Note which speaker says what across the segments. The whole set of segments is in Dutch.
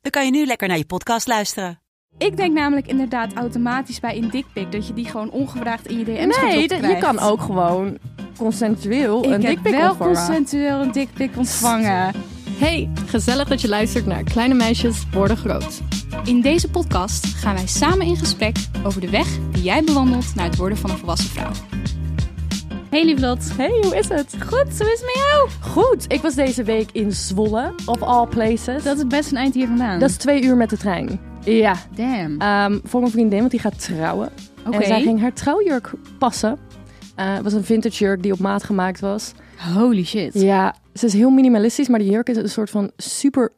Speaker 1: dan kan je nu lekker naar je podcast luisteren.
Speaker 2: Ik denk namelijk inderdaad automatisch bij een dikpik dat je die gewoon ongevraagd in je DM's gaat
Speaker 3: Nee, dat-
Speaker 2: krijgt.
Speaker 3: je kan ook gewoon consensueel
Speaker 2: Ik
Speaker 3: een
Speaker 2: heb
Speaker 3: dikpik
Speaker 2: wel
Speaker 3: opvangen.
Speaker 2: consensueel een dikpik ontvangen.
Speaker 4: Hey, gezellig dat je luistert naar Kleine Meisjes Worden Groot.
Speaker 2: In deze podcast gaan wij samen in gesprek over de weg die jij bewandelt naar het worden van een volwassen vrouw. Hey Lieblot. Hey, hoe is het? Goed, zo is het met jou?
Speaker 3: Goed, ik was deze week in Zwolle, of all places.
Speaker 2: Dat is best een eind hier vandaan.
Speaker 3: Dat is twee uur met de trein. Ja,
Speaker 2: Damn.
Speaker 3: ehm, voor mijn vriendin, want die gaat trouwen.
Speaker 2: Oké.
Speaker 3: En zij ging haar trouwjurk passen. Eh, het was een vintage jurk die op maat gemaakt was.
Speaker 2: Holy shit.
Speaker 3: Ja, ze is heel minimalistisch, maar die jurk is een soort van super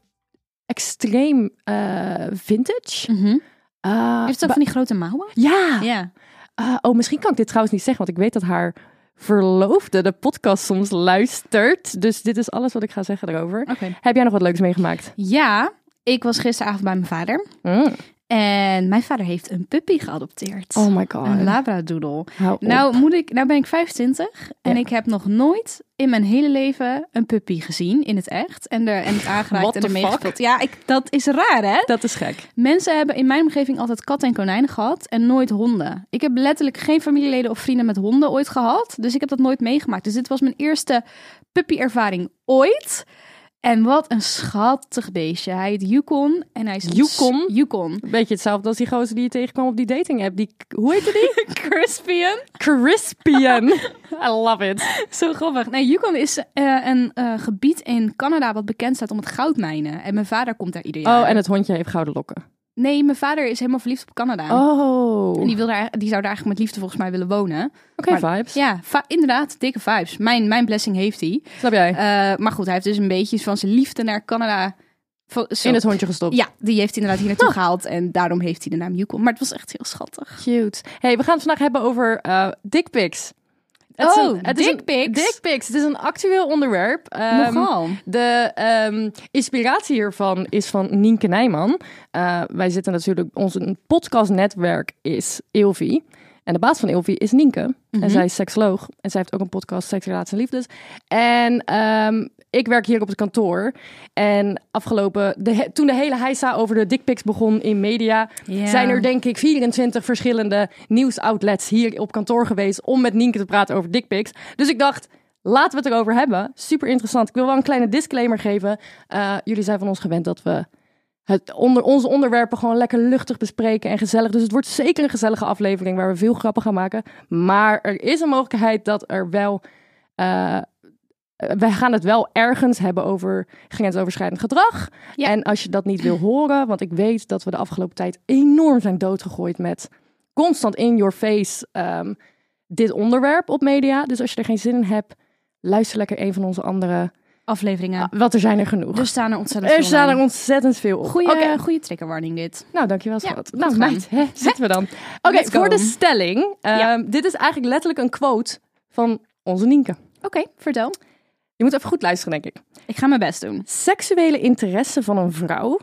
Speaker 3: extreem eh, vintage.
Speaker 2: Mhm.
Speaker 3: Eh,
Speaker 2: Heeft ze ook
Speaker 3: ba-
Speaker 2: van die grote mouwen?
Speaker 3: Ja!
Speaker 2: Ja.
Speaker 3: Ah, oh, misschien kan ik dit trouwens niet zeggen, want ik weet dat haar verloofde de podcast soms luistert. Dus dit is alles wat ik ga zeggen erover.
Speaker 2: Oké.
Speaker 3: Heb jij nog wat leuks meegemaakt?
Speaker 2: Ja, ik was gisteravond bij mijn vader.
Speaker 3: Mm.
Speaker 2: En mijn vader heeft een puppy geadopteerd.
Speaker 3: Oh my god.
Speaker 2: Een labradoodle.
Speaker 3: Hou op.
Speaker 2: Nou, moet ik, nou ben ik 25 en
Speaker 3: Ja.
Speaker 2: ik heb nog nooit in mijn hele leven een puppy gezien in het echt. En, er, en het aangeraakt
Speaker 3: What
Speaker 2: en
Speaker 3: the
Speaker 2: ermee
Speaker 3: fuck?
Speaker 2: gespeeld. Ja, ik, dat is raar hè?
Speaker 3: dat is gek.
Speaker 2: Mensen hebben in mijn omgeving altijd katten en konijnen gehad en nooit honden. Ik heb letterlijk geen familieleden of vrienden met honden ooit gehad. Dus ik heb dat nooit meegemaakt. Dus dit was mijn eerste puppy-ervaring ooit. En wat een schattig beestje. Hij heet Yukon en hij is... een s-
Speaker 3: Yukon?
Speaker 2: Yukon.
Speaker 3: Beetje hetzelfde als die gozer die je tegenkwam op die dating app. Die, hoe heette die?
Speaker 2: Crispian.
Speaker 3: Crispian. I love it.
Speaker 2: Zo grappig. Nee, Yukon is eh, een eh, gebied in Canada wat bekend staat om het goudmijnen. En mijn vader komt daar ieder jaar.
Speaker 3: Oh, en het hondje heeft gouden lokken.
Speaker 2: Nee, mijn vader is helemaal verliefd op Canada.
Speaker 3: Oh.
Speaker 2: En die,
Speaker 3: Oké,
Speaker 2: wil daar, die zou daar eigenlijk met liefde volgens mij willen wonen. Maar-
Speaker 3: vibes.
Speaker 2: Ja, va- inderdaad, dikke vibes. Mijn, mijn blessing heeft hij.
Speaker 3: Snap jij?
Speaker 2: Eh, maar goed, hij heeft dus een beetje van zijn liefde naar Canada... van- zo-
Speaker 3: In het Oh. hondje gestopt.
Speaker 2: Ja, die heeft hij inderdaad hier naartoe gehaald. En daarom heeft hij de naam Yukon. Maar het was echt heel schattig.
Speaker 3: Cute. hey, we gaan het vandaag hebben over eh dickpics. Het is
Speaker 2: Oh,
Speaker 3: een- het is een-
Speaker 2: dickpics?
Speaker 3: Dickpics. Het is een actueel onderwerp. Ehm,
Speaker 2: Nogal.
Speaker 3: De ehm, inspiratie hiervan is van Nienke Nijman. Eh, wij zitten natuurlijk, ons podcastnetwerk is Ilvi. En de baas van Ilvi is Nienke. En zij is seksoloog. En zij heeft ook een podcast, Seks, Relaties en Liefdes. En ehm, ik werk hier op het kantoor. En afgelopen, de, he- toen de hele heisa over de dickpics begon in media,
Speaker 2: Ja.
Speaker 3: zijn er denk ik 24 verschillende nieuwsoutlets hier op kantoor geweest om met Nienke te praten over dickpics. Dus ik dacht, laten we het erover hebben. Super interessant. Ik wil wel een kleine disclaimer geven. Eh, jullie zijn van ons gewend dat we het onder, onze onderwerpen gewoon lekker luchtig bespreken en gezellig. Dus het wordt zeker een gezellige aflevering waar we veel grappen gaan maken. Maar er is een mogelijkheid dat er wel... eh, we gaan het wel ergens hebben over grensoverschrijdend gedrag.
Speaker 2: Ja.
Speaker 3: En als je dat niet wil horen, want ik weet dat we de afgelopen tijd enorm zijn doodgegooid met constant in your face ehm, dit onderwerp op media. Dus als je er geen zin in hebt, luister lekker een van onze andere.
Speaker 2: Afleveringen.
Speaker 3: Ah, Want er zijn er genoeg.
Speaker 2: Er staan er ontzettend
Speaker 3: er
Speaker 2: veel
Speaker 3: staan
Speaker 2: online.
Speaker 3: er ontzettend veel op.
Speaker 2: Goeie,
Speaker 3: Oké.
Speaker 2: goeie triggerwarning dit.
Speaker 3: Nou, dankjewel,
Speaker 2: Ja,
Speaker 3: schat.
Speaker 2: goed
Speaker 3: nou,
Speaker 2: gedaan.
Speaker 3: meid, hè, zitten we dan. Oké,
Speaker 2: Let's go.
Speaker 3: voor de stelling. Ehm, Dit is eigenlijk letterlijk een quote van onze Nienke.
Speaker 2: Oké, vertel.
Speaker 3: Je moet even goed luisteren, denk ik.
Speaker 2: Ik ga mijn best doen.
Speaker 3: Seksuele interesse van een vrouw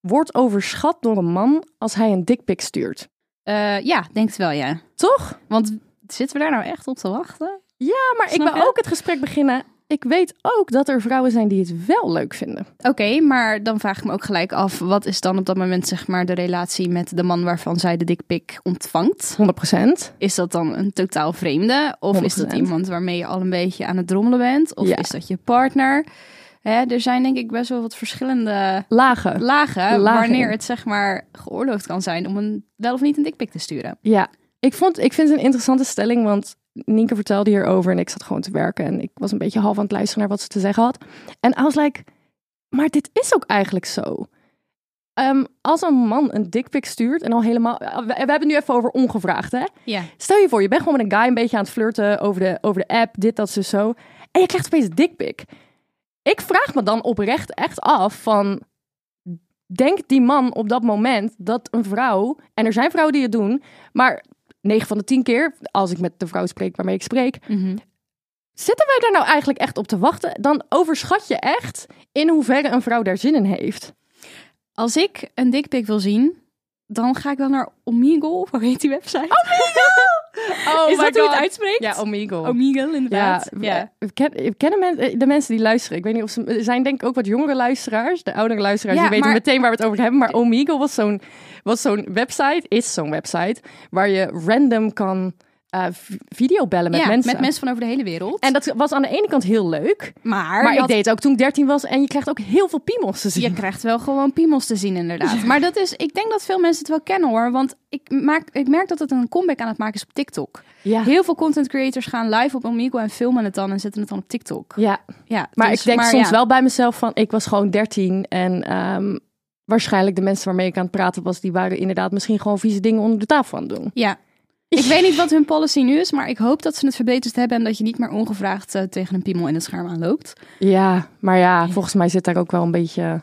Speaker 3: wordt overschat door een man als hij een dikpik stuurt.
Speaker 2: Eh, ja, denk het wel, ja.
Speaker 3: Toch?
Speaker 2: Want zitten we daar nou echt op te wachten?
Speaker 3: Ja, maar
Speaker 2: Snap
Speaker 3: ik wil
Speaker 2: je?
Speaker 3: ook het gesprek beginnen. Ik weet ook dat er vrouwen zijn die het wel leuk vinden.
Speaker 2: Oké, maar dan vraag ik me ook gelijk af... wat is dan op dat moment zeg maar de relatie met de man waarvan zij de dikpik ontvangt?
Speaker 3: 100%.
Speaker 2: Is dat dan een totaal vreemde? Of is dat
Speaker 3: 100%.
Speaker 2: iemand waarmee je al een beetje aan het drommelen bent? Of
Speaker 3: Ja.
Speaker 2: is dat je partner? Hè, er zijn denk ik best wel wat verschillende
Speaker 3: Lagen.
Speaker 2: lagen...
Speaker 3: Lagen
Speaker 2: wanneer
Speaker 3: in.
Speaker 2: het zeg maar geoorloofd kan zijn... om een, wel of niet een dikpik te sturen.
Speaker 3: Ja. Ik, vond, ik vind het een interessante stelling, want Nienke vertelde hierover en ik zat gewoon te werken. En ik was een beetje half aan het luisteren naar wat ze te zeggen had. En I was like, maar dit is ook eigenlijk zo. Ehm, als een man een dikpik stuurt en al helemaal... We, we hebben het nu even over ongevraagd, hè?
Speaker 2: Ja.
Speaker 3: Stel je voor, je bent gewoon met een guy een beetje aan het flirten over de, over de app, dit, dat, zo, zo. En je krijgt opeens een dikpik. Ik vraag me dan oprecht echt af van... denkt die man op dat moment dat een vrouw, en er zijn vrouwen die het doen, maar 9 van de 10 keer, als ik met de vrouw spreek waarmee ik spreek,
Speaker 2: Mhm.
Speaker 3: zitten wij daar nou eigenlijk echt op te wachten? Dan overschat je echt in hoeverre een vrouw daar zin in heeft.
Speaker 2: Als ik een dikpik wil zien, dan ga ik dan naar Omegle, of hoe heet die website?
Speaker 3: Oh
Speaker 2: Is dat hoe je het uitspreekt?
Speaker 3: Ja, oh Omegle.
Speaker 2: Omegle,
Speaker 3: Ja,
Speaker 2: inderdaad.
Speaker 3: we- we eh, ken- we kennen men- eh, de mensen die luisteren. Ik weet niet of ze. Er zijn denk ik ook wat jongere luisteraars. De oudere luisteraars
Speaker 2: Ja,
Speaker 3: die weten
Speaker 2: maar-
Speaker 3: meteen waar we het over hebben. Maar Omegle was zo'n was zo'n website, is zo'n website, waar je random kan eh, v- videobellen met
Speaker 2: Ja,
Speaker 3: mensen.
Speaker 2: met mensen van over de hele wereld.
Speaker 3: En dat was aan de ene kant heel leuk.
Speaker 2: maar
Speaker 3: Maar
Speaker 2: je,
Speaker 3: ik
Speaker 2: had-
Speaker 3: deed het ook toen ik 13 was en je krijgt ook heel veel piemels te zien.
Speaker 2: je krijgt wel gewoon piemels te zien, inderdaad. Maar dat is, ik denk dat veel mensen het wel kennen hoor. Want ik, maak, ik merk dat het een comeback aan het maken is op TikTok.
Speaker 3: Ja.
Speaker 2: Heel veel content creators gaan live op Omegle en filmen het dan en zetten het dan op TikTok.
Speaker 3: ja.
Speaker 2: Ja,
Speaker 3: Maar
Speaker 2: dus-
Speaker 3: ik denk soms
Speaker 2: ja.
Speaker 3: wel bij mezelf van, ik was gewoon 13 en ehm, waarschijnlijk de mensen waarmee ik aan het praten was, die waren inderdaad misschien gewoon vieze dingen onder de tafel aan het doen.
Speaker 2: Ja. Ik weet niet wat hun policy nu is, maar ik hoop dat ze het verbeterd hebben en dat je niet meer ongevraagd eh, tegen een piemel in het scherm aanloopt.
Speaker 3: Ja, maar ja, volgens mij zit daar ook wel een beetje. Het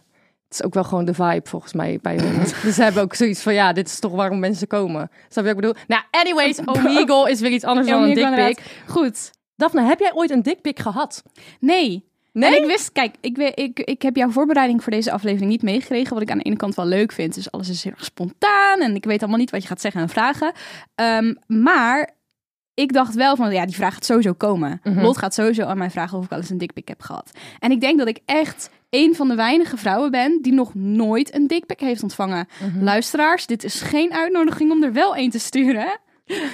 Speaker 3: is ook wel gewoon de vibe volgens mij bij hun. dus ze hebben ook zoiets van, ja, dit is toch waarom mensen komen. Snap je wat ik bedoel? Nou, anyways, Omegle is weer iets anders dan een
Speaker 2: Omegle
Speaker 3: dikpik.
Speaker 2: inderdaad. Goed.
Speaker 3: Daphne, heb jij ooit een dikpik gehad?
Speaker 2: Nee.
Speaker 3: Nee?
Speaker 2: En ik wist, kijk, ik, we- ik, ik heb jouw voorbereiding voor deze aflevering niet meegekregen. Wat ik aan de ene kant wel leuk vind. Dus alles is heel erg spontaan. En ik weet allemaal niet wat je gaat zeggen en vragen. Ehm, maar ik dacht wel van, ja, die vraag gaat sowieso komen.
Speaker 3: Mhm.
Speaker 2: Lot gaat sowieso aan mij vragen of ik al eens een dikpik heb gehad. En ik denk dat ik echt een van de weinige vrouwen ben die nog nooit een dikpik heeft ontvangen.
Speaker 3: Mhm.
Speaker 2: Luisteraars, dit is geen uitnodiging om er wel een te sturen.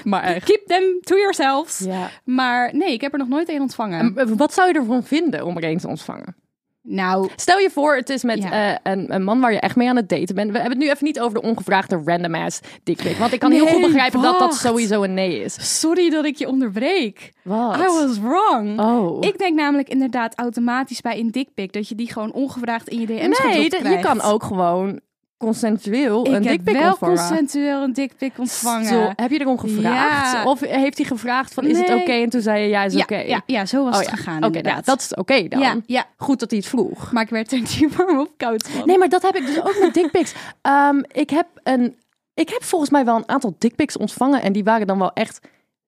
Speaker 3: Maar
Speaker 2: Keep them to yourselves.
Speaker 3: Ja. Ehm,
Speaker 2: Maar nee, ik heb er nog nooit een ontvangen.
Speaker 3: En eh, Wat zou je ervan vinden om er een te ontvangen?
Speaker 2: nou,
Speaker 3: Stel je voor, het is met
Speaker 2: Ja.
Speaker 3: eh, een, een man waar je echt mee aan het daten bent. We hebben het nu even niet over de ongevraagde random ass dikpik. Want ik kan heel
Speaker 2: Nee,
Speaker 3: goed begrijpen dat dat
Speaker 2: wacht.
Speaker 3: sowieso een nee is.
Speaker 2: Sorry dat ik je onderbreek.
Speaker 3: Wat?
Speaker 2: I was wrong.
Speaker 3: Oh.
Speaker 2: Ik denk namelijk inderdaad automatisch bij een dikpik dat je die gewoon ongevraagd in je DM's
Speaker 3: nee,
Speaker 2: gedropt
Speaker 3: dat-
Speaker 2: krijgt.
Speaker 3: je kan ook gewoon consensueel
Speaker 2: Ik
Speaker 3: een
Speaker 2: heb
Speaker 3: dikpik
Speaker 2: wel
Speaker 3: ontvangen.
Speaker 2: consensueel een dikpik ontvangen.
Speaker 3: Zo, heb je erom gevraagd?
Speaker 2: Ja.
Speaker 3: Of heeft hij gevraagd van is het oké?
Speaker 2: Nee.
Speaker 3: En toen zei je ja, is
Speaker 2: ja,
Speaker 3: oké.
Speaker 2: ja, ja, zo was
Speaker 3: Oh
Speaker 2: het
Speaker 3: ja.
Speaker 2: gegaan
Speaker 3: Oké,
Speaker 2: inderdaad.
Speaker 3: nou, dat is oké dan.
Speaker 2: ja, ja,
Speaker 3: Goed dat hij het vroeg.
Speaker 2: maar ik werd er niet warm op koud van.
Speaker 3: Nee, maar dat heb ik dus ook met dickpics. Ehm, ik heb een, ik heb volgens mij wel een aantal dickpics ontvangen en die waren dan wel echt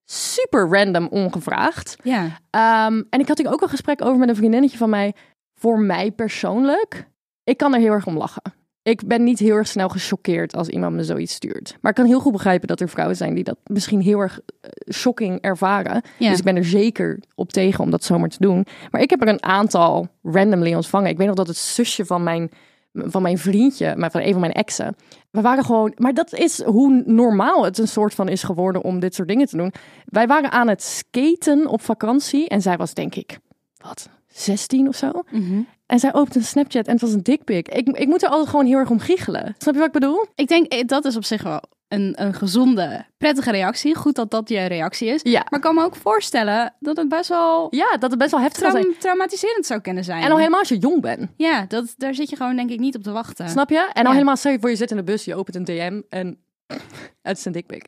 Speaker 3: super random ongevraagd.
Speaker 2: Ja,
Speaker 3: Ehm, en ik had hier ook een gesprek over met een vriendinnetje van mij. Voor mij persoonlijk, ik kan er heel erg om lachen. Ik ben niet heel erg snel gechoqueerd als iemand me zoiets stuurt. Maar ik kan heel goed begrijpen dat er vrouwen zijn die dat misschien heel erg eh, shocking ervaren.
Speaker 2: Ja.
Speaker 3: Dus ik ben er zeker op tegen om dat zomaar te doen. Maar ik heb er een aantal randomly ontvangen. Ik weet nog dat het zusje van mijn, van mijn vriendje, maar van een van mijn exen. We waren gewoon. Maar dat is hoe normaal het een soort van is geworden om dit soort dingen te doen. Wij waren aan het skaten op vakantie. En zij was, denk ik, wat, 16 of zo?
Speaker 2: Mhm.
Speaker 3: En zij opent een Snapchat en het was een dikpik. Ik, ik moet er altijd gewoon heel erg om giechelen. Snap je wat ik bedoel?
Speaker 2: ik denk eh, dat is op zich wel een, een gezonde, prettige reactie. Goed dat dat je reactie is.
Speaker 3: Ja.
Speaker 2: Maar ik kan me ook voorstellen dat het best wel
Speaker 3: Ja, dat het best wel heftig kan zijn.
Speaker 2: traum- traumatiserend zou kunnen zijn.
Speaker 3: En al helemaal als je jong bent.
Speaker 2: Ja, dat, daar zit je gewoon denk ik niet op te wachten.
Speaker 3: Snap je? En al
Speaker 2: Ja.
Speaker 3: helemaal stel je voor je zit in de bus, je opent een DM en het is een dikpik.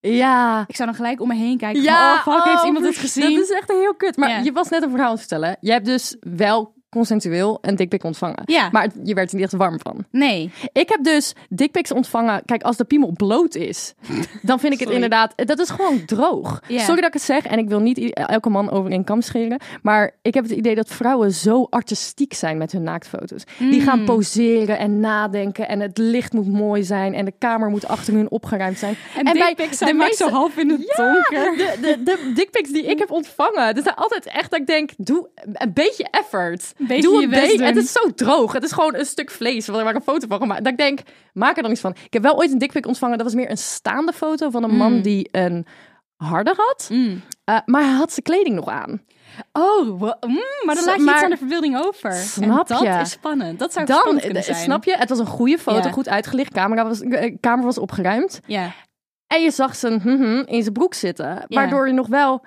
Speaker 3: Ja.
Speaker 2: Ik zou dan gelijk om me heen kijken. Ja, oh fuck, heeft iemand het gezien?
Speaker 3: Dat is echt heel kut. Maar
Speaker 2: Ja.
Speaker 3: je was net een verhaal aan het vertellen. Je hebt dus wel consensueel een dikpik ontvangen.
Speaker 2: Ja.
Speaker 3: Maar het- je werd er niet echt warm van.
Speaker 2: Nee.
Speaker 3: Ik heb dus dikpiks ontvangen. Kijk, als de piemel bloot is, dan vind ik het inderdaad... Dat is gewoon droog.
Speaker 2: Ja.
Speaker 3: Sorry dat ik het zeg en ik wil niet i- elke man over een kam scheren. Maar ik heb het idee dat vrouwen zo artistiek zijn met hun naaktfoto's. Die
Speaker 2: Mm.
Speaker 3: gaan poseren en nadenken en het licht moet mooi zijn... en de kamer moet achter hun opgeruimd zijn.
Speaker 2: dickpics zijn vaak zo half in het
Speaker 3: Ja, De, de, de dickpics die ik heb ontvangen, dat zijn altijd echt dat ik denk, doe een beetje effort.
Speaker 2: Beetje
Speaker 3: doe
Speaker 2: je
Speaker 3: een
Speaker 2: best
Speaker 3: beetje.
Speaker 2: doen.
Speaker 3: Het is zo droog. Het is gewoon een stuk vlees waar ik een foto van gemaakt. Dat ik denk, maak er dan iets van. Ik heb wel ooit een dickpic ontvangen. Dat was meer een staande foto van een
Speaker 2: Mm.
Speaker 3: man die een harde had. Eh, maar hij had zijn kleding nog aan.
Speaker 2: Oh, wa- mm, maar dan
Speaker 3: Zo,
Speaker 2: laat je
Speaker 3: maar-
Speaker 2: iets aan de verbeelding over.
Speaker 3: Snap
Speaker 2: en dat
Speaker 3: je?
Speaker 2: is spannend. Dat zou
Speaker 3: Dan,
Speaker 2: spannend kunnen
Speaker 3: eh,
Speaker 2: zijn.
Speaker 3: snap je, het was een goede foto,
Speaker 2: Ja.
Speaker 3: goed uitgelicht. Camera was, eh, kamer was opgeruimd.
Speaker 2: Ja.
Speaker 3: En je zag zijn hm hm in zijn broek zitten. Waardoor je nog wel...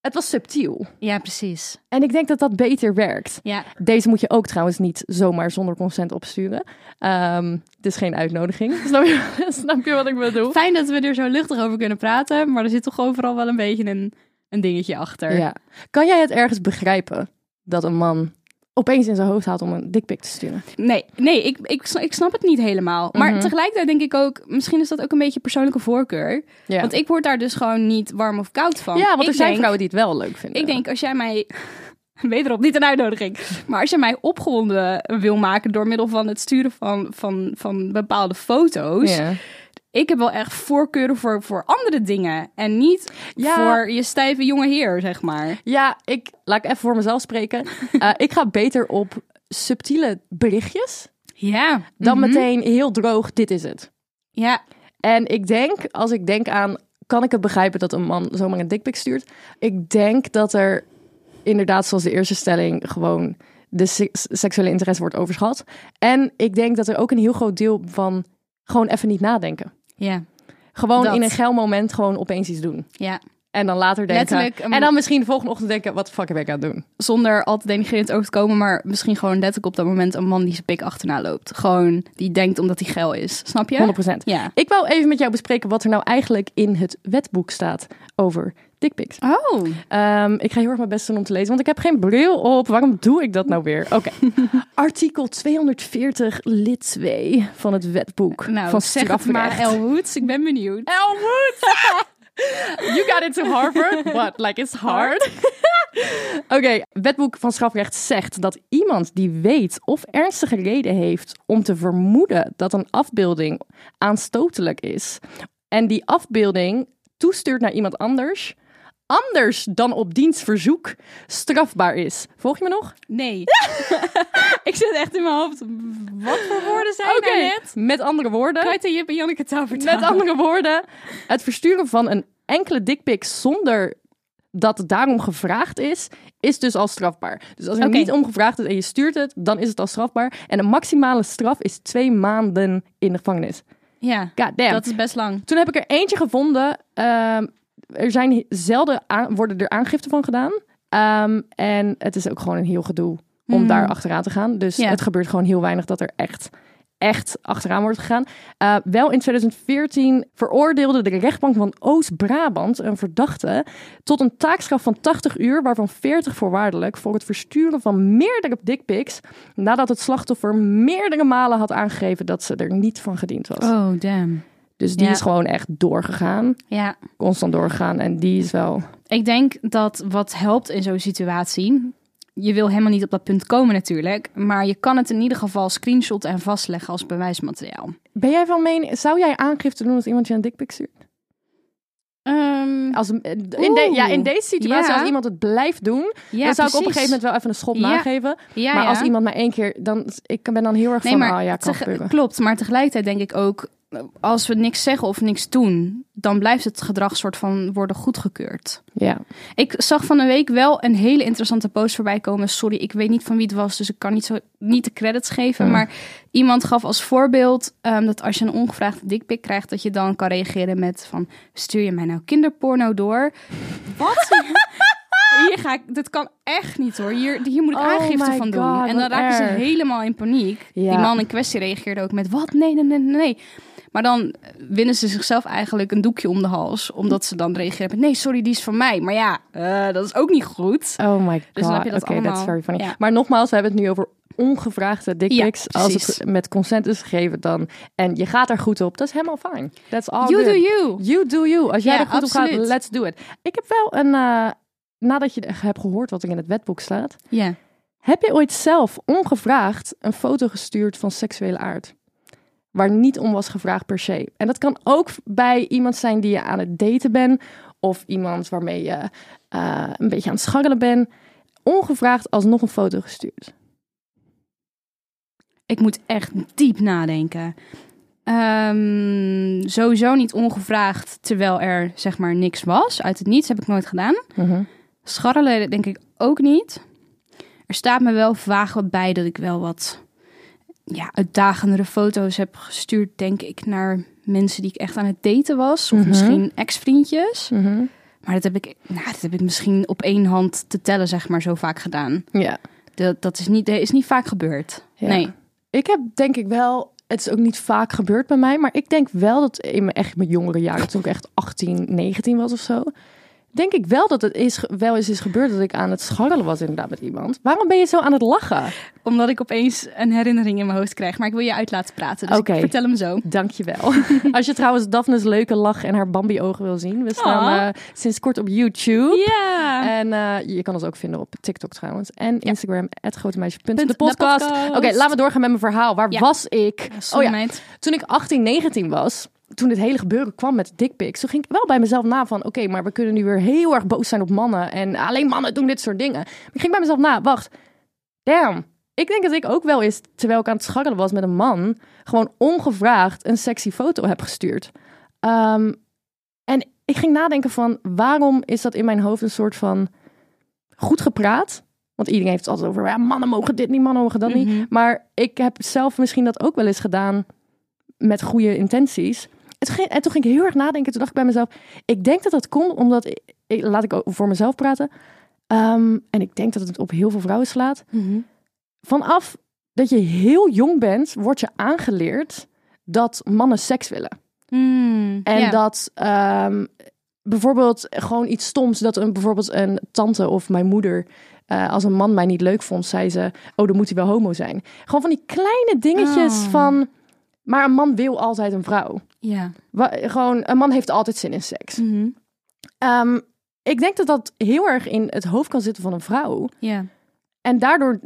Speaker 3: Het was subtiel.
Speaker 2: ja, precies.
Speaker 3: En ik denk dat dat beter werkt.
Speaker 2: Ja.
Speaker 3: Deze moet je ook trouwens niet zomaar zonder consent opsturen. Ehm, het is geen uitnodiging. Snap je, snap je wat ik bedoel?
Speaker 2: Fijn dat we er zo luchtig over kunnen praten, maar er zit toch overal wel een beetje een, een dingetje achter.
Speaker 3: Ja. Kan jij het ergens begrijpen dat een man opeens in zijn hoofd haalt om een dikpik te sturen.
Speaker 2: Nee, nee ik, ik, sna- ik snap het niet helemaal. Maar tegelijkertijd denk ik ook, misschien is dat ook een beetje persoonlijke voorkeur.
Speaker 3: Ja.
Speaker 2: Want ik word daar dus gewoon niet warm of koud van.
Speaker 3: ja, want er
Speaker 2: ik
Speaker 3: zijn
Speaker 2: denk-
Speaker 3: vrouwen die het wel leuk vinden.
Speaker 2: Ik denk, als jij mij... Wederom, niet een uitnodiging. Maar als je mij opgewonden wil maken door middel van het sturen van, van, van bepaalde foto's.
Speaker 3: Ja.
Speaker 2: Ik heb wel echt voorkeuren voor, voor andere dingen. En niet
Speaker 3: Ja.
Speaker 2: voor je stijve jonge heer, zeg maar.
Speaker 3: Ja, ik laat ik even voor mezelf spreken. Eh, ik ga beter op subtiele berichtjes
Speaker 2: Ja.
Speaker 3: dan meteen heel droog. Dit is het.
Speaker 2: Mhm. Ja.
Speaker 3: En ik denk, als ik denk aan, kan ik het begrijpen dat een man zomaar een dikpik stuurt? Ik denk dat er inderdaad, zoals de eerste stelling, gewoon de se- seksuele interesse wordt overschat. En ik denk dat er ook een heel groot deel van gewoon even niet nadenken.
Speaker 2: Ja.
Speaker 3: Gewoon
Speaker 2: Dat.
Speaker 3: in een geil moment gewoon opeens iets doen.
Speaker 2: Ja.
Speaker 3: En dan later denken.
Speaker 2: Letterlijk, um,
Speaker 3: En dan misschien de volgende ochtend denken, wat de fuck heb ik aan het doen?
Speaker 2: Zonder al te denigrerend over te komen, maar misschien gewoon letterlijk op dat moment een man die zijn pik achterna loopt. Gewoon die denkt omdat hij geil is. Snap je?
Speaker 3: 100%.
Speaker 2: Ja.
Speaker 3: Ik wou even met jou bespreken wat er nou eigenlijk in het wetboek staat over dickpics.
Speaker 2: Oh.
Speaker 3: Ehm, ik ga heel erg mijn best doen om te lezen, want ik heb geen bril op. Waarom doe ik dat nou weer? Oké. Artikel 240, lid 2 van het wetboek
Speaker 2: Nou,
Speaker 3: van
Speaker 2: zeg het maar,
Speaker 3: strafrecht.
Speaker 2: Elwood. Ik ben benieuwd.
Speaker 3: Elwood! you got into Harvard, but like it's hard. Oké, wetboek van strafrecht zegt dat iemand die weet of ernstige reden heeft om te vermoeden dat een afbeelding aanstotelijk is en die afbeelding toestuurt naar iemand anders, anders dan op dienstverzoek strafbaar is. Volg je me nog?
Speaker 2: Nee. ik zit echt in mijn hoofd. Wat voor woorden zijn
Speaker 3: Oké,
Speaker 2: er net?
Speaker 3: met andere woorden.
Speaker 2: Kijk, je hebt Janneke taal
Speaker 3: Met andere woorden, het versturen van een enkele dikpik zonder dat het daarom gevraagd is, is dus al strafbaar. Dus als er
Speaker 2: Oké.
Speaker 3: niet om gevraagd is en je stuurt het, dan is het al strafbaar. En de maximale straf is twee maanden in de gevangenis.
Speaker 2: Ja,
Speaker 3: God damn.
Speaker 2: dat is best lang.
Speaker 3: Ehm, Toen heb ik er eentje gevonden. Ehm, er zijn he- zelden aan- worden er aangifte van gedaan. Ehm, en het is ook gewoon een heel gedoe om daar achteraan te gaan. Dus
Speaker 2: Hmm. Ja.
Speaker 3: het gebeurt gewoon heel weinig dat er echt, echt achteraan wordt gegaan. Eh, wel in 2014 veroordeelde de rechtbank van Oost-Brabant een verdachte tot een taakstraf van 80 uur, waarvan 40 voorwaardelijk, voor het versturen van meerdere dickpics nadat het slachtoffer meerdere malen had aangegeven dat ze er niet van gediend was.
Speaker 2: Oh, damn.
Speaker 3: Dus die
Speaker 2: Ja.
Speaker 3: is gewoon echt doorgegaan.
Speaker 2: Ja.
Speaker 3: Constant doorgegaan. En die is wel.
Speaker 2: Ik denk dat wat helpt in zo'n situatie. Je wil helemaal niet op dat punt komen natuurlijk. Maar je kan het in ieder geval screenshot en vastleggen als bewijsmateriaal.
Speaker 3: Ben jij van mening? Zou jij aangifte doen als iemand je een dikpik stuurt?
Speaker 2: Ehm,
Speaker 3: Als, een- in, de-
Speaker 2: Oeh.
Speaker 3: ja, in deze situatie,
Speaker 2: Ja.
Speaker 3: als iemand het blijft doen,
Speaker 2: ja,
Speaker 3: dan zou ik op een gegeven moment wel even een schop
Speaker 2: Ja.
Speaker 3: nageven.
Speaker 2: Ja,
Speaker 3: maar
Speaker 2: ja.
Speaker 3: als iemand maar één keer, dan ik ben dan heel erg
Speaker 2: Nee,
Speaker 3: van,
Speaker 2: maar
Speaker 3: ah ja, kan
Speaker 2: tege-
Speaker 3: gebeuren.
Speaker 2: klopt. Maar tegelijkertijd denk ik ook, als we niks zeggen of niks doen, dan blijft het gedrag soort van worden goedgekeurd.
Speaker 3: Ja.
Speaker 2: Ik zag van een week wel een hele interessante post voorbij komen. Sorry, ik weet niet van wie het was, dus ik kan niet, zo, niet de credits geven. Maar iemand gaf als voorbeeld ehm, dat als je een ongevraagde dikpik krijgt, dat je dan kan reageren met van stuur je mij nou kinderporno door? Wat? Hier ga ik, dat kan echt niet hoor. Hier, hier moet ik
Speaker 3: Oh
Speaker 2: aangifte
Speaker 3: my
Speaker 2: van
Speaker 3: God,
Speaker 2: doen. En dan
Speaker 3: wat
Speaker 2: raken
Speaker 3: erg.
Speaker 2: ze helemaal in paniek.
Speaker 3: Ja.
Speaker 2: Die man in kwestie reageerde ook met wat? Nee, nee, nee, nee. Maar dan winnen ze zichzelf eigenlijk een doekje om de hals. Omdat ze dan reageren met nee, sorry, die is van mij. Maar ja, eh, dat is ook niet goed.
Speaker 3: Oh my god.
Speaker 2: Dus dan heb je dat
Speaker 3: Oké, dat is
Speaker 2: allemaal.
Speaker 3: very funny.
Speaker 2: Ja.
Speaker 3: Maar nogmaals, we hebben het nu over ongevraagde dickpics.
Speaker 2: Ja,
Speaker 3: als
Speaker 2: precies.
Speaker 3: het met consent is gegeven dan en je gaat er goed op, dat is helemaal fijn. That's all
Speaker 2: You
Speaker 3: Oh, good.
Speaker 2: do you.
Speaker 3: You do you. Als jij
Speaker 2: Ja,
Speaker 3: er goed op gaat,
Speaker 2: absoluut.
Speaker 3: let's do it. Ik heb wel een... eh, nadat je hebt gehoord wat er in het wetboek staat...
Speaker 2: Ja.
Speaker 3: Heb je ooit zelf ongevraagd een foto gestuurd van seksuele aard? Waar niet om was gevraagd per se. En dat kan ook bij iemand zijn die je aan het daten bent. Of iemand waarmee je eh, een beetje aan het scharrelen bent. Ongevraagd alsnog een foto gestuurd.
Speaker 2: Ik moet echt diep nadenken. Ehm, sowieso niet ongevraagd, terwijl er zeg maar niks was. Uit het niets heb ik nooit gedaan. Scharrelen denk ik ook niet. Er staat me wel vaag wat bij dat ik wel wat ja, uitdagendere foto's heb gestuurd, denk ik, naar mensen die ik echt aan het daten was. Of misschien ex-vriendjes. Maar dat heb, ik, nou, dat heb ik misschien op één hand te tellen, zeg maar, zo vaak gedaan.
Speaker 3: Ja.
Speaker 2: Dat, dat is, niet, dat is niet vaak gebeurd.
Speaker 3: Ja.
Speaker 2: Nee.
Speaker 3: Ik heb denk ik wel, het is ook niet vaak gebeurd bij mij, maar ik denk wel dat in mijn, echt mijn jongere jaren, toen ik echt 18, 19 was of zo, denk ik wel dat het is, wel eens is gebeurd dat ik aan het scharrelen was inderdaad met iemand. Waarom ben je zo aan het lachen?
Speaker 2: Omdat ik opeens een herinnering in mijn hoofd krijg. Maar ik wil je uit laten praten. Dus
Speaker 3: Oké.
Speaker 2: ik vertel hem zo.
Speaker 3: Dankjewel. Als je trouwens Daphne's leuke lach en haar Bambi-ogen wil zien, we staan
Speaker 2: Aw.
Speaker 3: eh, sinds kort op YouTube.
Speaker 2: Ja.
Speaker 3: En eh, je kan ons ook vinden op TikTok trouwens. En Instagram, @grotemeisje.depodcast.
Speaker 2: Punt, de podcast.
Speaker 3: Oké, laten we doorgaan met mijn verhaal. Waar
Speaker 2: Ja.
Speaker 3: was ik?
Speaker 2: Sorry,
Speaker 3: oh ja,
Speaker 2: meid.
Speaker 3: toen ik 18, 19 was, toen dit hele gebeuren kwam met dickpics, toen ging ik wel bij mezelf na van, oké, maar we kunnen nu weer heel erg boos zijn op mannen en alleen mannen doen dit soort dingen. Maar ik ging bij mezelf na, wacht, damn, ik denk dat ik ook wel eens, terwijl ik aan het scharrelen was met een man, gewoon ongevraagd een sexy foto heb gestuurd. Ehm, en ik ging nadenken van, waarom is dat in mijn hoofd een soort van goed gepraat? Want iedereen heeft het altijd over, ja, mannen mogen dit niet, mannen mogen dat
Speaker 2: Mhm.
Speaker 3: niet. Maar ik heb zelf misschien dat ook wel eens gedaan met goede intenties. En toen, ging, en toen ging ik heel erg nadenken. Toen dacht ik bij mezelf, ik denk dat dat komt omdat, ik, ik- laat ik ook voor mezelf praten. Ehm, en ik denk dat het op heel veel vrouwen slaat. Vanaf dat je heel jong bent, wordt je aangeleerd dat mannen seks willen.
Speaker 2: Mm,
Speaker 3: En
Speaker 2: ja.
Speaker 3: dat ehm, bijvoorbeeld gewoon iets stoms, dat een, bijvoorbeeld een tante of mijn moeder, eh, als een man mij niet leuk vond, zei ze, oh, dan moet hij wel homo zijn. Gewoon van die kleine dingetjes
Speaker 2: Oh.
Speaker 3: van, maar een man wil altijd een vrouw.
Speaker 2: Ja.
Speaker 3: Wa- gewoon, een man heeft altijd zin in seks.
Speaker 2: Mhm.
Speaker 3: Ehm, ik denk dat dat heel erg in het hoofd kan zitten van een vrouw.
Speaker 2: Ja.
Speaker 3: En daardoor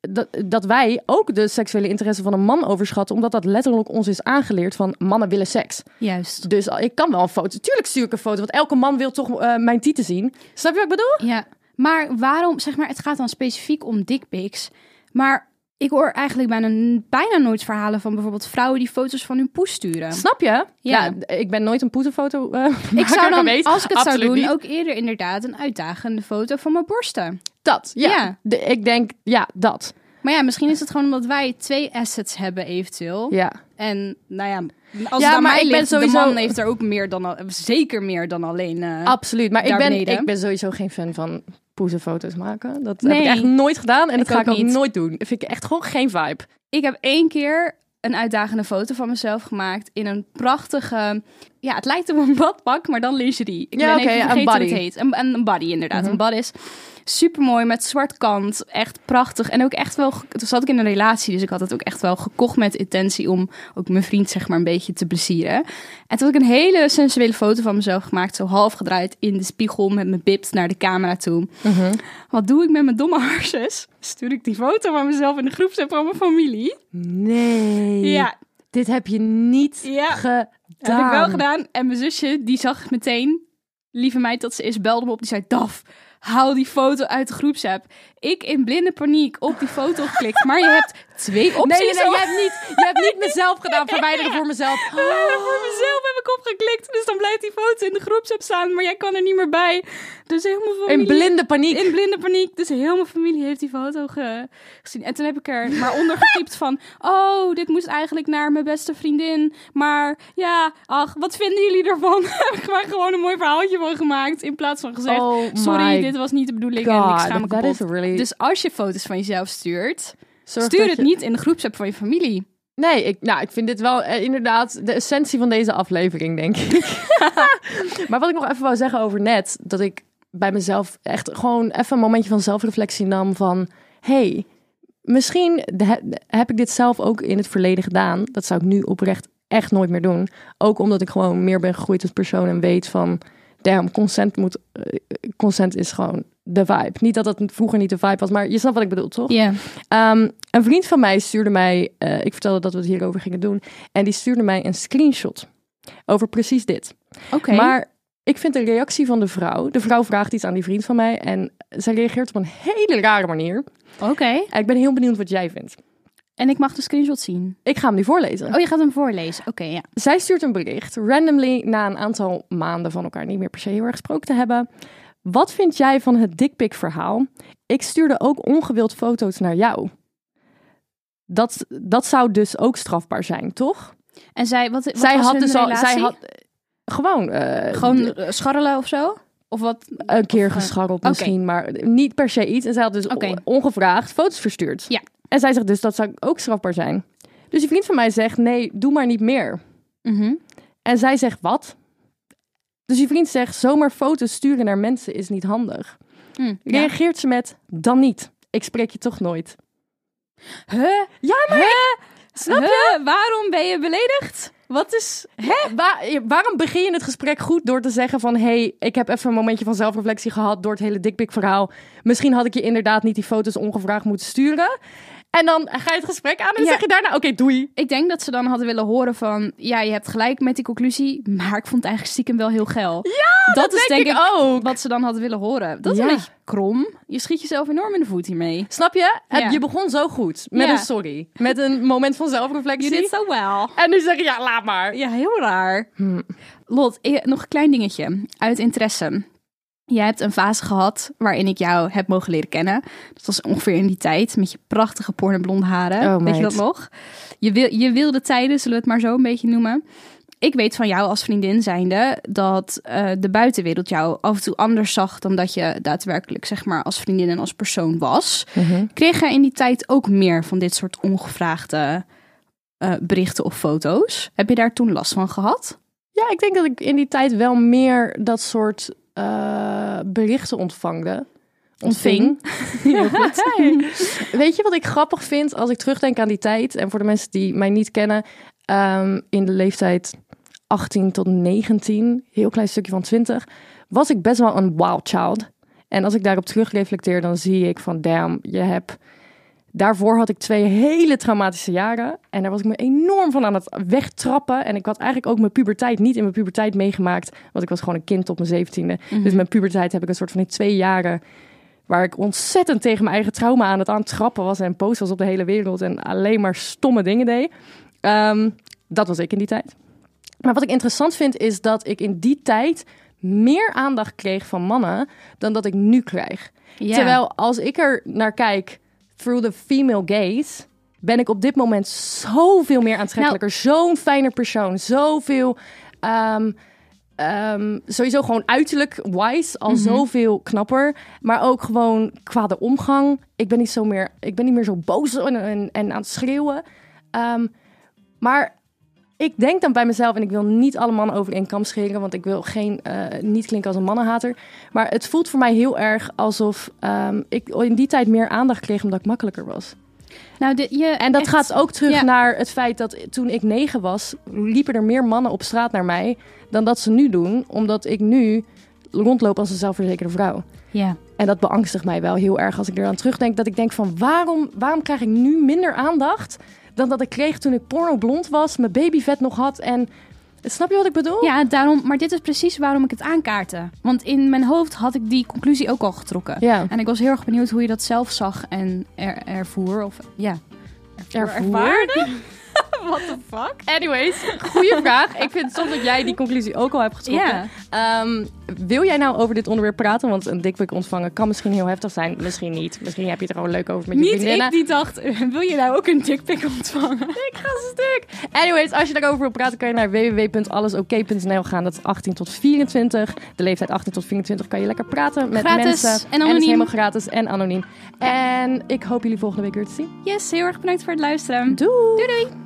Speaker 3: dat, dat wij ook de seksuele interesse van een man overschatten, omdat dat letterlijk ons is aangeleerd van mannen willen seks.
Speaker 2: Juist.
Speaker 3: Dus al- ik kan wel een foto. Tuurlijk stuur ik een foto, want elke man wil toch eh, mijn tieten zien. Snap je wat ik bedoel?
Speaker 2: Ja. Maar waarom, zeg maar, het gaat dan specifiek om dickpics. Maar ik hoor eigenlijk bijna, bijna nooit verhalen van bijvoorbeeld vrouwen die foto's van hun poes sturen.
Speaker 3: Snap je? Ja.
Speaker 2: Ja.
Speaker 3: d- ik ben nooit een poetenfoto eh
Speaker 2: Ik zou dan,
Speaker 3: geweest.
Speaker 2: als ik het zou
Speaker 3: Absoluut
Speaker 2: doen,
Speaker 3: niet.
Speaker 2: ook eerder inderdaad een uitdagende foto van mijn borsten.
Speaker 3: Dat, ja.
Speaker 2: Ja.
Speaker 3: De- ik denk, ja, dat.
Speaker 2: Maar ja, misschien is het gewoon omdat wij twee assets hebben eventueel.
Speaker 3: Ja.
Speaker 2: En nou ja, als
Speaker 3: Ja,
Speaker 2: het aan
Speaker 3: maar
Speaker 2: mij
Speaker 3: ik ben
Speaker 2: ligt,
Speaker 3: sowieso-
Speaker 2: de man heeft er ook meer dan, al- zeker meer dan alleen... eh,
Speaker 3: Absoluut. Maar ik
Speaker 2: Daar
Speaker 3: ben,
Speaker 2: beneden.
Speaker 3: ik ben sowieso geen fan van poezenfoto's maken. Dat heb
Speaker 2: Nee.
Speaker 3: ik echt nooit gedaan. En dat
Speaker 2: Ik
Speaker 3: ga ik
Speaker 2: ook
Speaker 3: ook
Speaker 2: niet.
Speaker 3: nooit doen. Dat vind ik echt gewoon geen vibe.
Speaker 2: Ik heb één keer een uitdagende foto van mezelf gemaakt in een prachtige... Ja, het lijkt op een badpak, maar dan lingerie. Ik
Speaker 3: Ja,
Speaker 2: ben
Speaker 3: oké,
Speaker 2: even
Speaker 3: een Mhm.
Speaker 2: vergeten
Speaker 3: body.
Speaker 2: hoe het heet. Een, een, een body inderdaad, een bodice. Supermooi, met zwart kant. Echt prachtig. En ook echt wel... ge- Toen zat ik in een relatie, dus ik had het ook echt wel gekocht met intentie... om ook mijn vriend zeg maar een beetje te plezieren. En toen had ik een hele sensuele foto van mezelf gemaakt. Zo half gedraaid in de spiegel met mijn bips naar de camera toe. Wat doe ik met mijn domme harses? Stuur ik die foto van mezelf in de groepsapp van mijn familie?
Speaker 3: Nee.
Speaker 2: Ja,
Speaker 3: Dit heb je niet
Speaker 2: Ja.
Speaker 3: gedaan.
Speaker 2: dat heb ik wel gedaan. En mijn zusje, die zag meteen, lieve meid dat ze is, belde me op. Die zei, Daf, haal die foto uit de groepsapp. Ik in blinde paniek op die foto geklikt. Maar je hebt twee opties.
Speaker 3: Nee, nee, nee,
Speaker 2: om-
Speaker 3: je hebt niet, je hebt niet mezelf gedaan. Verwijderen voor mezelf.
Speaker 2: Eh, Voor mezelf heb ik opgeklikt. Dus dan blijft die foto in de groepsapp staan. Maar jij kan er niet meer bij. Dus helemaal familie...
Speaker 3: In blinde paniek.
Speaker 2: In blinde paniek. Dus heel mijn familie heeft die foto ge- gezien. En toen heb ik er maar onder getypt van... Oh, dit moest eigenlijk naar mijn beste vriendin. Maar ja, ach, wat vinden jullie ervan? heb ik maar gewoon een mooi verhaaltje van gemaakt. In plaats van gezegd...
Speaker 3: Oh my
Speaker 2: sorry, dit was niet de bedoeling en ik
Speaker 3: God,
Speaker 2: schaam me
Speaker 3: that
Speaker 2: kapot.
Speaker 3: is really-
Speaker 2: Dus als je foto's van jezelf stuurt...
Speaker 3: Zorg
Speaker 2: stuur
Speaker 3: dat
Speaker 2: het
Speaker 3: je-
Speaker 2: niet in de groepsapp van je familie.
Speaker 3: Nee, ik, nou, ik vind dit wel eh, inderdaad de essentie van deze aflevering, denk ik. maar wat ik nog even wou zeggen over net, dat ik bij mezelf echt gewoon even een momentje van zelfreflectie nam van... hey, misschien de- he- heb ik dit zelf ook in het verleden gedaan. Dat zou ik nu oprecht echt nooit meer doen. Ook omdat ik gewoon meer ben gegroeid als persoon en weet van... Damn, consent, moet, eh, consent is gewoon de vibe. Niet dat dat vroeger niet de vibe was, maar je snapt wat ik bedoel, toch?
Speaker 2: Ja.
Speaker 3: Ehm, een vriend van mij stuurde mij, eh, ik vertelde dat we het hierover gingen doen, en die stuurde mij een screenshot over precies dit.
Speaker 2: Oké.
Speaker 3: Maar ik vind de reactie van de vrouw, de vrouw vraagt iets aan die vriend van mij en zij reageert op een hele rare manier.
Speaker 2: Oké.
Speaker 3: En ik ben heel benieuwd wat jij vindt.
Speaker 2: En ik mag de screenshot zien.
Speaker 3: Ik ga hem nu voorlezen.
Speaker 2: Oh, je gaat hem voorlezen. Oké, ja.
Speaker 3: Zij stuurt een bericht, randomly na een aantal maanden van elkaar niet meer per se heel erg gesproken te hebben. Wat vind jij van het dikpik verhaal? Ik stuurde ook ongewild foto's naar jou. Dat, dat zou dus ook strafbaar zijn, toch?
Speaker 2: En zij, wat, wat
Speaker 3: zij
Speaker 2: was
Speaker 3: had
Speaker 2: hun
Speaker 3: dus al,
Speaker 2: relatie?
Speaker 3: zij had eh, gewoon, eh,
Speaker 2: Gewoon eh, scharrelen of zo? Of wat?
Speaker 3: een keer
Speaker 2: of, eh,
Speaker 3: gescharreld
Speaker 2: oké.
Speaker 3: misschien, maar niet per se iets. En zij had dus
Speaker 2: Oké.
Speaker 3: on- ongevraagd foto's verstuurd.
Speaker 2: Ja.
Speaker 3: En zij zegt dus dat zou ook strafbaar zijn. Dus die vriend van mij zegt: nee, doe maar niet meer.
Speaker 2: Mhm.
Speaker 3: En zij zegt wat? Dus je vriend zegt, zomaar foto's sturen naar mensen is niet handig.
Speaker 2: Hm, ja.
Speaker 3: Reageert ze met, dan niet. Ik spreek je toch nooit.
Speaker 2: Huh?
Speaker 3: Ja, maar...
Speaker 2: Snap je? Waarom ben je beledigd? Wat is...
Speaker 3: Waar- waarom begin je het gesprek goed door te zeggen van... hey, ik heb even een momentje van zelfreflectie gehad door het hele dikpik verhaal. Misschien had ik je inderdaad niet die foto's ongevraagd moeten sturen. En dan ga je het gesprek aan en dan
Speaker 2: Ja.
Speaker 3: zeg je daarna... oké, doei.
Speaker 2: Ik denk dat ze dan hadden willen horen van... Ja, je hebt gelijk met die conclusie, maar ik vond het eigenlijk stiekem wel heel geil. Ja, dat, is denk ik,
Speaker 3: ook.
Speaker 2: wat ze dan hadden willen horen. Dat is
Speaker 3: Ja.
Speaker 2: een beetje krom. Je schiet jezelf enorm in de voet hiermee.
Speaker 3: Snap je?
Speaker 2: Ja.
Speaker 3: Je begon zo goed. Met
Speaker 2: Ja.
Speaker 3: een sorry. Met een moment van zelfreflectie.
Speaker 2: so well.
Speaker 3: En nu zeg je, ja, laat maar.
Speaker 2: Ja, heel raar.
Speaker 3: Hm.
Speaker 2: Lot, eh, nog een klein dingetje uit interesse. Jij hebt een fase gehad waarin ik jou heb mogen leren kennen. Dat was ongeveer in die tijd met je prachtige pornoblonde haren.
Speaker 3: Oh,
Speaker 2: Weet je dat
Speaker 3: meid.
Speaker 2: nog? Je, wil, je wilde tijden, zullen we het maar zo een beetje noemen. Ik weet van jou als vriendin zijnde dat eh, de buitenwereld jou af en toe anders zag dan dat je daadwerkelijk zeg maar als vriendin en als persoon was. Kreeg jij in die tijd ook meer van dit soort ongevraagde eh, berichten of foto's? Heb je daar toen last van gehad?
Speaker 3: Ja, ik denk dat ik in die tijd wel meer dat soort eh, berichten ontvangde.
Speaker 2: Ontving.
Speaker 3: Heel goed. Weet je wat ik grappig vind als ik terugdenk aan die tijd? En voor de mensen die mij niet kennen, ehm, in de leeftijd 18 tot 19, heel klein stukje van 20, was ik best wel een wild child. En als ik daarop terugreflecteer, dan zie ik van damn, je hebt... Daarvoor had ik twee hele traumatische jaren. En daar was ik me enorm van aan het wegtrappen. En ik had eigenlijk ook mijn puberteit niet in mijn puberteit meegemaakt. Want ik was gewoon een kind tot mijn zeventiende. Dus mijn puberteit heb ik een soort van in twee jaren waar ik ontzettend tegen mijn eigen trauma aan het aan het trappen was en post was op de hele wereld en alleen maar stomme dingen deed. Ehm, dat was ik in die tijd. Maar wat ik interessant vind is dat ik in die tijd meer aandacht kreeg van mannen dan dat ik nu krijg.
Speaker 2: Ja.
Speaker 3: Terwijl als ik er naar kijk through the female gaze, ben ik op dit moment zoveel meer aantrekkelijker, zo'n fijner persoon, zoveel ehm, ehm, sowieso gewoon uiterlijk wise al zoveel knapper. Maar ook gewoon qua de omgang. Ik ben niet, zo meer, ik ben niet meer zo boos en, en, en aan het schreeuwen. Ehm, maar ik denk dan bij mezelf, en ik wil niet alle mannen over één kam scheren, want ik wil geen, eh, niet klinken als een mannenhater. Maar het voelt voor mij heel erg alsof ehm, ik in die tijd meer aandacht kreeg omdat ik makkelijker was.
Speaker 2: Nou, dit- je
Speaker 3: En dat
Speaker 2: echt-
Speaker 3: gaat ook terug
Speaker 2: ja.
Speaker 3: naar het feit dat toen ik negen was, liepen er meer mannen op straat naar mij dan dat ze nu doen, omdat ik nu rondloop als een zelfverzekerde vrouw.
Speaker 2: Ja.
Speaker 3: En dat beangstigt mij wel heel erg als ik eraan terugdenk. Dat ik denk van waarom, waarom krijg ik nu minder aandacht dan dat ik kreeg toen ik porno blond was, mijn babyvet nog had en... Snap je wat ik bedoel?
Speaker 2: ja, daarom. Maar dit is precies waarom ik het aankaarte. Want in mijn hoofd had ik die conclusie ook al getrokken.
Speaker 3: Ja.
Speaker 2: En ik was heel erg benieuwd hoe je dat zelf zag en er, ervoer. Of ja.
Speaker 3: Ervoer?
Speaker 2: What the fuck?
Speaker 3: Anyways, goede vraag. Ik vind soms dat jij die conclusie ook al hebt getrokken.
Speaker 2: Ja.
Speaker 3: Ehm, wil jij nou over dit onderwerp praten? Want een dikpik ontvangen kan misschien heel heftig zijn. Misschien niet. Misschien heb je het er gewoon leuk over met je
Speaker 2: Niet
Speaker 3: vriendinnen.
Speaker 2: ik die dacht, wil je nou ook een dickpic ontvangen?
Speaker 3: Ik ga stuk. Anyways, als je daarover wil praten, kan je naar www.allesoké.nl gaan. Dat is 18 tot 24. De leeftijd 18 tot 24 kan je lekker praten met
Speaker 2: Gratis
Speaker 3: mensen.
Speaker 2: en
Speaker 3: het is
Speaker 2: anoniem.
Speaker 3: helemaal gratis en anoniem. En ik hoop jullie volgende week weer te zien.
Speaker 2: Yes, heel erg bedankt voor het luisteren.
Speaker 3: Doei!
Speaker 2: Doei doei!